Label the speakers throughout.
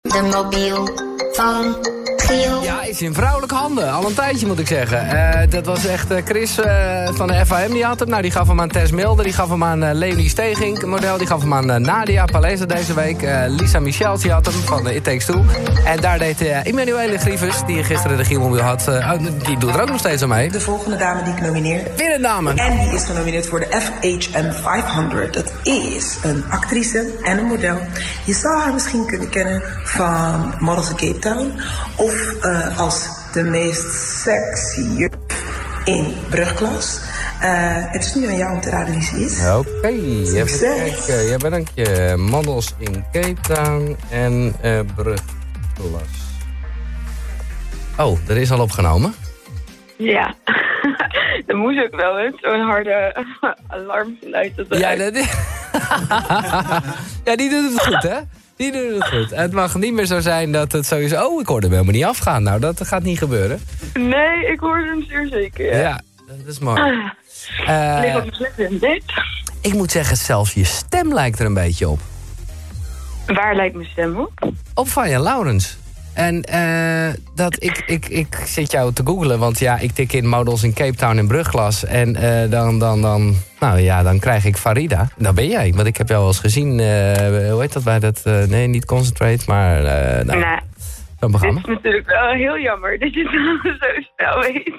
Speaker 1: De mobiel van Giel.
Speaker 2: Ja, is in vrouwelijke handen. Al een tijdje moet ik zeggen. Eh, dat was echt eh, Chris eh, van de FAM die had hem. Nou, die gaf hem aan Tess Milder. Die gaf hem aan eh, Leni Stegink, model. Die gaf hem aan eh, Nadia Paleza deze week. Eh, Lisa Michels die had hem van eh, It Takes Two. En daar deed eh Emanuele Grievers, die gisteren de Gielmobiel had... eh, oh, die doet er ook nog steeds aan mee. Dus
Speaker 3: De volgende dame die ik nomineer.
Speaker 2: Weer een dame.
Speaker 3: En die is genomineerd voor de FHM 500. Dat is een actrice en een model. Je zou haar misschien kunnen kennen van Models of Cape Town. Of eh, als de meest sexy juf in brugklas. Eh, het is nu aan jou om te raden wie ze is.
Speaker 2: Oké, even kijken. Ja, bedankt je. eh, Models in Cape Town en eh Brugklas. Oh, er is al opgenomen.
Speaker 4: Ja, dat moest ook wel eens. Zo'n harde alarmgeluid. Dat
Speaker 2: Ja, dat
Speaker 4: eruit-
Speaker 2: is... ja, die doet het goed, hè? Die doet het goed. Het mag niet meer zo zijn dat het sowieso... Oh, ik hoorde hem helemaal niet afgaan. Nou, dat gaat niet gebeuren.
Speaker 4: Nee, ik hoorde hem zeer zeker.
Speaker 2: Ja,
Speaker 4: Ja.
Speaker 2: dat is mooi.
Speaker 4: Ik lig
Speaker 2: Eh,
Speaker 4: op mijn slecht in bed.
Speaker 2: ik moet zeggen, zelfs je stem lijkt er een beetje op.
Speaker 4: Waar lijkt mijn stem op?
Speaker 2: Op Vanja Laurens. En eh, dat ik, ik, ik zit jou te googlen, want ja, ik tik in models in Cape Town in Brugglas. En eh, dan, dan, dan, nou ja, dan krijg ik Farida. Dat ben jij, want ik heb jou wel eens gezien, eh, hoe heet dat bij dat, eh, nee, niet Concentrate, maar eh nou,
Speaker 4: Nou,
Speaker 2: zo'n
Speaker 4: dit
Speaker 2: programma.
Speaker 4: is natuurlijk wel heel jammer dat je het nou zo snel weet.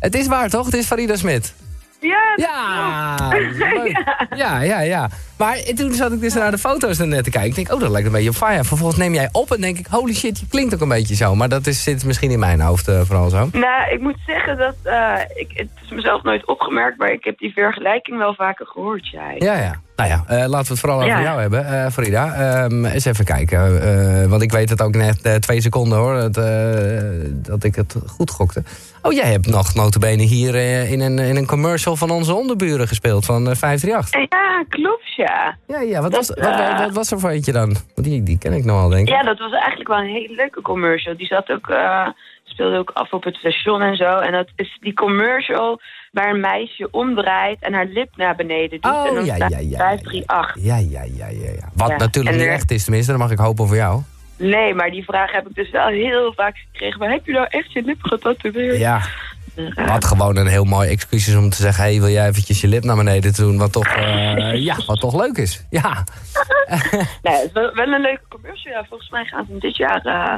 Speaker 2: Het is waar, toch? Het is Farida Smit.
Speaker 4: Ja, dat
Speaker 2: Ja, leuk. ja, ja, ja. Maar toen zat ik dus naar de foto's daarnet te kijken. Ik denk, oh, dat lijkt een beetje op Fire. Vervolgens neem jij op en denk ik, holy shit, je klinkt ook een beetje zo. Maar dat is, zit misschien in mijn hoofd eh, vooral zo.
Speaker 4: Nou, ik moet zeggen dat eh, ik, het is mezelf nooit opgemerkt, maar ik heb die vergelijking wel vaker gehoord, jij.
Speaker 2: Ja, ja. Nou ja, eh, laten we het vooral over
Speaker 4: Ja.
Speaker 2: jou hebben, eh, Frida. Ehm, eens even kijken, eh, want ik weet het ook net eh, twee seconden hoor, dat, eh, dat ik het goed gokte. Oh, jij hebt nog notabene hier eh, in, een, in een commercial van onze onderburen gespeeld, van eh, 538.
Speaker 4: Ja, klopt, ja.
Speaker 2: Ja, ja, wat was,
Speaker 4: Dat,
Speaker 2: wat,
Speaker 4: eh,
Speaker 2: wat was er voor eentje dan? Want Die, die ken ik nogal, denk ik.
Speaker 4: Ja, dat was eigenlijk wel een hele leuke commercial. Die zat ook, eh, speelde ook af op het station en zo. En dat is die commercial waar een meisje omdraait en haar lip naar beneden doet.
Speaker 2: Oh,
Speaker 4: en dan
Speaker 2: ja,
Speaker 4: staat
Speaker 2: ja, ja,
Speaker 4: 538.
Speaker 2: Ja, ja, ja, ja. ja. Wat
Speaker 4: Ja,
Speaker 2: natuurlijk
Speaker 4: en
Speaker 2: niet
Speaker 4: er-
Speaker 2: echt is, tenminste, dat mag ik hopen voor jou.
Speaker 4: Nee, maar die vraag heb ik dus wel heel vaak gekregen. Maar heb je nou echt je lip getatoeëerd? Eh,
Speaker 2: Ja. Wat gewoon een heel mooi excuus is om te zeggen... hé, hey, wil jij eventjes je lip naar beneden doen? Wat toch, eh, ja, wat toch leuk is. Ja.
Speaker 4: Nee, het is wel, wel een leuke commercial. Ja, volgens mij gaan ze hem dit jaar eh,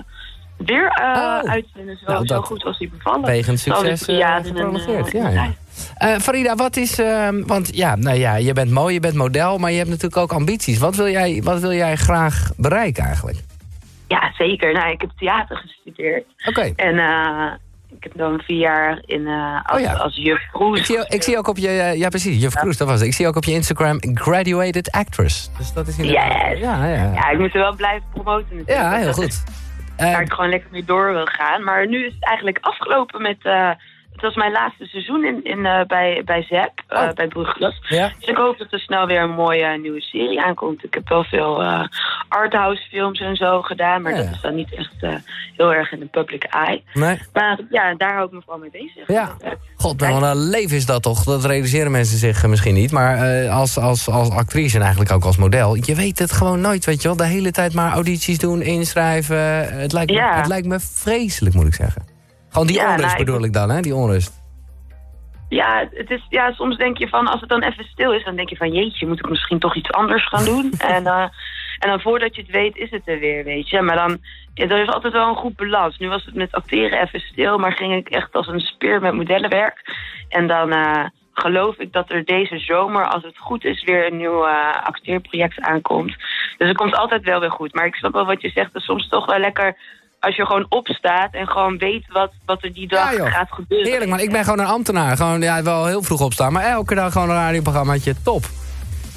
Speaker 4: weer eh
Speaker 2: Oh.
Speaker 4: uitzenden. Zo,
Speaker 2: Nou,
Speaker 4: zo
Speaker 2: dat-
Speaker 4: goed als die bevallen.
Speaker 2: Wegens
Speaker 4: Zo al die
Speaker 2: succes
Speaker 4: drie
Speaker 2: eh
Speaker 4: jaar in een,
Speaker 2: geprolongeerd.
Speaker 4: eh,
Speaker 2: Ja, ja. Eh, Farida, wat is... ehm, want ja, nou ja, je bent mooi, je bent model... maar je hebt natuurlijk ook ambities. Wat wil jij, wat wil jij graag bereiken eigenlijk?
Speaker 4: Ja, zeker. Nou, ik heb theater gestudeerd.
Speaker 2: Oké.
Speaker 4: En eh, ik heb dan vier jaar in, eh als,
Speaker 2: Oh ja.
Speaker 4: als juf Kroes.
Speaker 2: Ik zie, ik zie ook op je... eh, Ja, precies. Juf Kroes, dat was het. Ik zie ook op je Instagram... Graduated Actress. Dus dat is inderdaad...
Speaker 4: Yes.
Speaker 2: Ja, ja.
Speaker 4: Ja, ik moet er wel blijven promoten natuurlijk.
Speaker 2: Ja, heel
Speaker 4: Dat is
Speaker 2: goed. Eh,
Speaker 4: Waar ik gewoon lekker mee door wil gaan. Maar nu is het eigenlijk afgelopen met... eh, het was mijn laatste seizoen in, in, eh, bij, bij ZEP, eh,
Speaker 2: Oh.
Speaker 4: bij Brugklas.
Speaker 2: ja.
Speaker 4: Dus ik hoop dat er snel weer een mooie eh, nieuwe serie aankomt. Ik heb wel veel eh, arthouse films en zo gedaan, maar
Speaker 2: Ja, ja.
Speaker 4: dat is dan niet echt eh, heel erg in de public eye.
Speaker 2: Nee.
Speaker 4: Maar ja, daar hou ik me vooral mee bezig.
Speaker 2: Ja. God, wel een eh, leven is dat toch? Dat realiseren mensen zich eh, misschien niet. Maar eh, als, als, als actrice en eigenlijk ook als model... je weet het gewoon nooit, weet je wel. De hele tijd maar audities doen, inschrijven. Het lijkt me,
Speaker 4: Ja.
Speaker 2: het lijkt me vreselijk, moet ik zeggen. Gewoon die
Speaker 4: Ja,
Speaker 2: onrust
Speaker 4: nou, ik-
Speaker 2: bedoel ik dan, hè? Die onrust.
Speaker 4: Ja, het is, ja, soms denk je van, als het dan even stil is, dan denk je van, jeetje, moet ik misschien toch iets anders gaan doen? en, eh, en dan voordat je het weet, is het er weer, weet je. Maar dan, ja, er is altijd wel een goed balans. Nu was het met acteren even stil, maar ging ik echt als een speer met modellenwerk. En dan eh, geloof ik dat er deze zomer, als het goed is, weer een nieuw eh, acteerproject aankomt. Dus het komt altijd wel weer goed. Maar ik snap wel wat je zegt, dat is soms toch wel lekker... Als je gewoon opstaat en gewoon weet wat, wat er die dag
Speaker 2: Ja, joh.
Speaker 4: gaat gebeuren.
Speaker 2: Heerlijk, maar ik ben gewoon een ambtenaar. Gewoon, ja, wel heel vroeg opstaan. Maar elke dag gewoon een radioprogrammaatje. Top.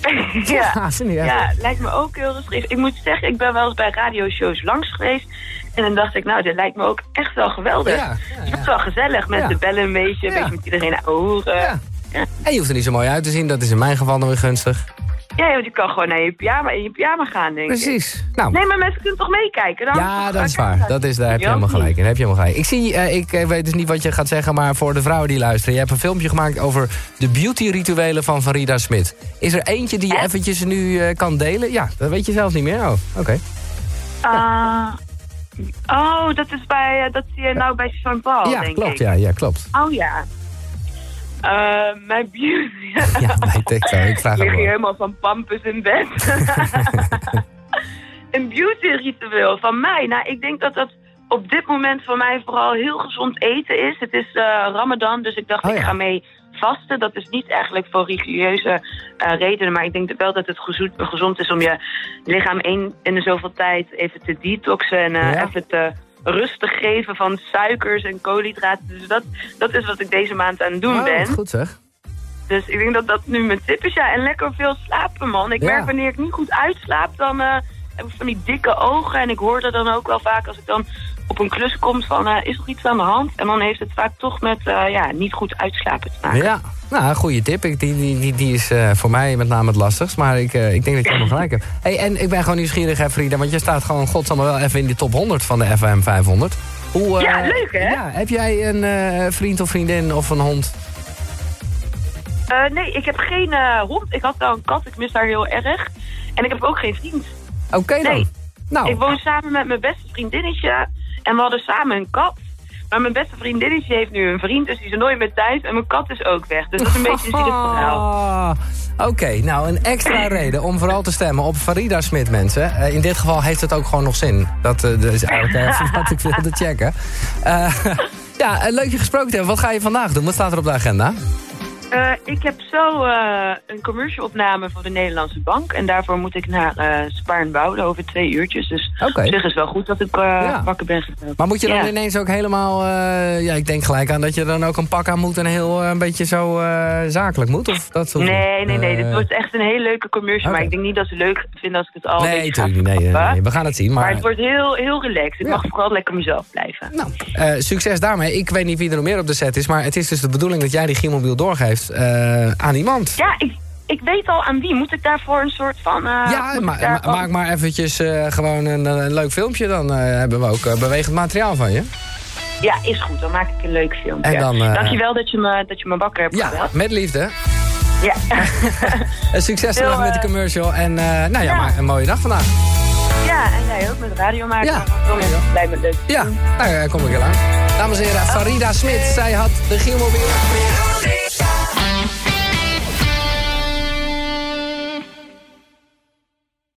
Speaker 2: Ah,
Speaker 4: ja.
Speaker 2: vind ik echt.
Speaker 4: Ja, lijkt me ook heel rustig. Ik moet zeggen, ik ben wel eens bij radioshows langs geweest. En dan dacht ik, nou, dit lijkt me ook echt wel geweldig.
Speaker 2: Ja, ja,
Speaker 4: Het
Speaker 2: ja.
Speaker 4: is wel gezellig. Mensen
Speaker 2: Ja.
Speaker 4: bellen een beetje, een
Speaker 2: Ja.
Speaker 4: beetje met iedereen ouwen.
Speaker 2: Ja.
Speaker 4: Ja,
Speaker 2: En je hoeft er niet zo mooi uit te zien. Dat is in mijn geval dan weer gunstig.
Speaker 4: want je kan gewoon naar je pyjama, in je pyjama gaan, denk ik.
Speaker 2: Precies. Nou,
Speaker 4: Nee, maar mensen kunnen toch meekijken? Dan
Speaker 2: Ja, dat is waar. Dat is, daar heb je
Speaker 4: Ja,
Speaker 2: helemaal
Speaker 4: niet.
Speaker 2: gelijk in. Heb je helemaal gelijk. Ik, zie, eh, ik eh, weet dus niet wat je gaat zeggen, maar voor de vrouwen die luisteren. Je hebt een filmpje gemaakt over de beauty-rituelen van Farida Smit. Is er eentje die je
Speaker 4: Hè?
Speaker 2: eventjes nu eh, kan delen? Ja, dat weet je zelf niet meer. Oh, oké.
Speaker 4: Eh, oh, dat is bij, eh, dat zie je nou bij Jean Paul,
Speaker 2: ja,
Speaker 4: denk
Speaker 2: klopt.
Speaker 4: ik.
Speaker 2: Ja, ja, klopt.
Speaker 4: Oh ja. Eh, mijn beauty.
Speaker 2: Ja, mijn tekst. Ik vraag
Speaker 4: lig
Speaker 2: ook
Speaker 4: hier
Speaker 2: wel.
Speaker 4: helemaal van pampus in bed. een beauty ritueel van mij. Nou, ik denk dat dat op dit moment voor mij vooral heel gezond eten is. Het is eh, Ramadan, dus ik dacht
Speaker 2: Oh,
Speaker 4: ik
Speaker 2: ja.
Speaker 4: ga mee vasten. Dat is niet eigenlijk voor religieuze eh, redenen, maar ik denk wel dat het gezoet- gezond is om je lichaam één in de zoveel tijd even te detoxen en eh,
Speaker 2: Ja.
Speaker 4: even te rustig geven van suikers en koolhydraten. Dus dat, dat is wat ik deze maand aan het doen
Speaker 2: Oh,
Speaker 4: ben.
Speaker 2: wat goed zeg.
Speaker 4: Dus ik denk dat dat nu mijn tip is. Ja, en lekker veel slapen, man. Ik
Speaker 2: Ja.
Speaker 4: merk wanneer ik niet goed uitslaap, dan eh, heb ik van die dikke ogen. En ik hoor dat dan ook wel vaak als ik dan op een klus kom van... eh, is er iets aan de hand? En dan heeft het vaak toch met eh, ja, niet goed uitslapen te maken.
Speaker 2: Ja, nou, een goede tip. Ik, die, die, die, die is eh, voor mij met name het lastigst. Maar ik, eh, ik denk dat je helemaal gelijk hebt. Hey, en ik ben gewoon nieuwsgierig, hè, Frida. Want je staat gewoon godsamme wel even in de top 100 van de FM 500. Hoe, eh,
Speaker 4: Ja, leuk, hè?
Speaker 2: Ja, heb jij een eh, vriend of vriendin of een hond?
Speaker 4: Eh, nee, ik heb geen eh, hond. Ik had wel een kat. Ik mis haar heel erg. En ik heb ook geen vriend.
Speaker 2: Oké dan.
Speaker 4: Nee.
Speaker 2: Nou,
Speaker 4: Ik woon samen met mijn beste vriendinnetje. En we hadden samen een kat. Maar mijn beste vriendinnetje heeft nu een vriend, dus die is er nooit meer thuis. En mijn kat is ook weg. Dus dat is een beetje een zielig verhaal.
Speaker 2: Ah, Oké, nou een extra reden om vooral te stemmen op Farida Smit, mensen. Eh, in dit geval heeft het ook gewoon nog zin. Dat, eh, dat is eigenlijk even wat ik wilde checken. Eh, ja, eh, leuk je gesproken te hebben. Wat ga je vandaag doen? Wat staat er op de agenda?
Speaker 4: Eh, ik heb zo eh, een commercial opname van de Nederlandse Bank. En daarvoor moet ik naar eh Spaar en Wouden over twee uurtjes. Dus
Speaker 2: Oké.
Speaker 4: op zich is wel goed dat ik eh
Speaker 2: Ja.
Speaker 4: wakker ben gebleven.
Speaker 2: Maar moet je dan
Speaker 4: Ja.
Speaker 2: ineens ook helemaal... eh, ja, ik denk gelijk aan dat je dan ook een pak aan moet en heel eh, een beetje zo eh, zakelijk moet? Of dat soort
Speaker 4: Nee, nee, nee.
Speaker 2: Eh,
Speaker 4: Dit wordt echt een hele leuke commercial.
Speaker 2: Oké.
Speaker 4: Maar ik denk niet dat ze leuk vinden als ik het al een
Speaker 2: Nee,
Speaker 4: beetje ga
Speaker 2: natuurlijk niet. nee, nee,
Speaker 4: verklappen.
Speaker 2: nee, we gaan het zien.
Speaker 4: Maar het wordt heel, heel relaxed. Ik
Speaker 2: Ja.
Speaker 4: mag vooral lekker mezelf blijven.
Speaker 2: Nou, eh, succes daarmee. Ik weet niet wie er nog meer op de set is, maar het is dus de bedoeling dat jij die Giemobiel doorgeeft eh, aan iemand.
Speaker 4: Ja, ik, ik weet al aan wie. Moet ik daarvoor een soort van... eh, moet
Speaker 2: ja,
Speaker 4: ik
Speaker 2: ma- ma-
Speaker 4: daarvan-
Speaker 2: maak maar eventjes eh, gewoon een, een leuk filmpje. Dan eh, hebben we ook eh, bewegend materiaal van je.
Speaker 4: ja, is goed. Dan maak ik een leuk filmpje.
Speaker 2: En dan, eh,
Speaker 4: Dankjewel dat je, me, dat je me wakker hebt
Speaker 2: Ja,
Speaker 4: gebeld.
Speaker 2: met liefde.
Speaker 4: Ja.
Speaker 2: Eh, succes
Speaker 4: Heel,
Speaker 2: vandaag met de
Speaker 4: eh,
Speaker 2: commercial. En eh, nou ja,
Speaker 4: ja.
Speaker 2: maar een mooie dag vandaag.
Speaker 4: Ja, en jij ook met radio maken.
Speaker 2: Ja.
Speaker 4: Kom in, blij met leuk.
Speaker 2: Ja, nou, eh, kom ik heel lang. Dames en heren, Farida Smit. Zij had de Giemobiel.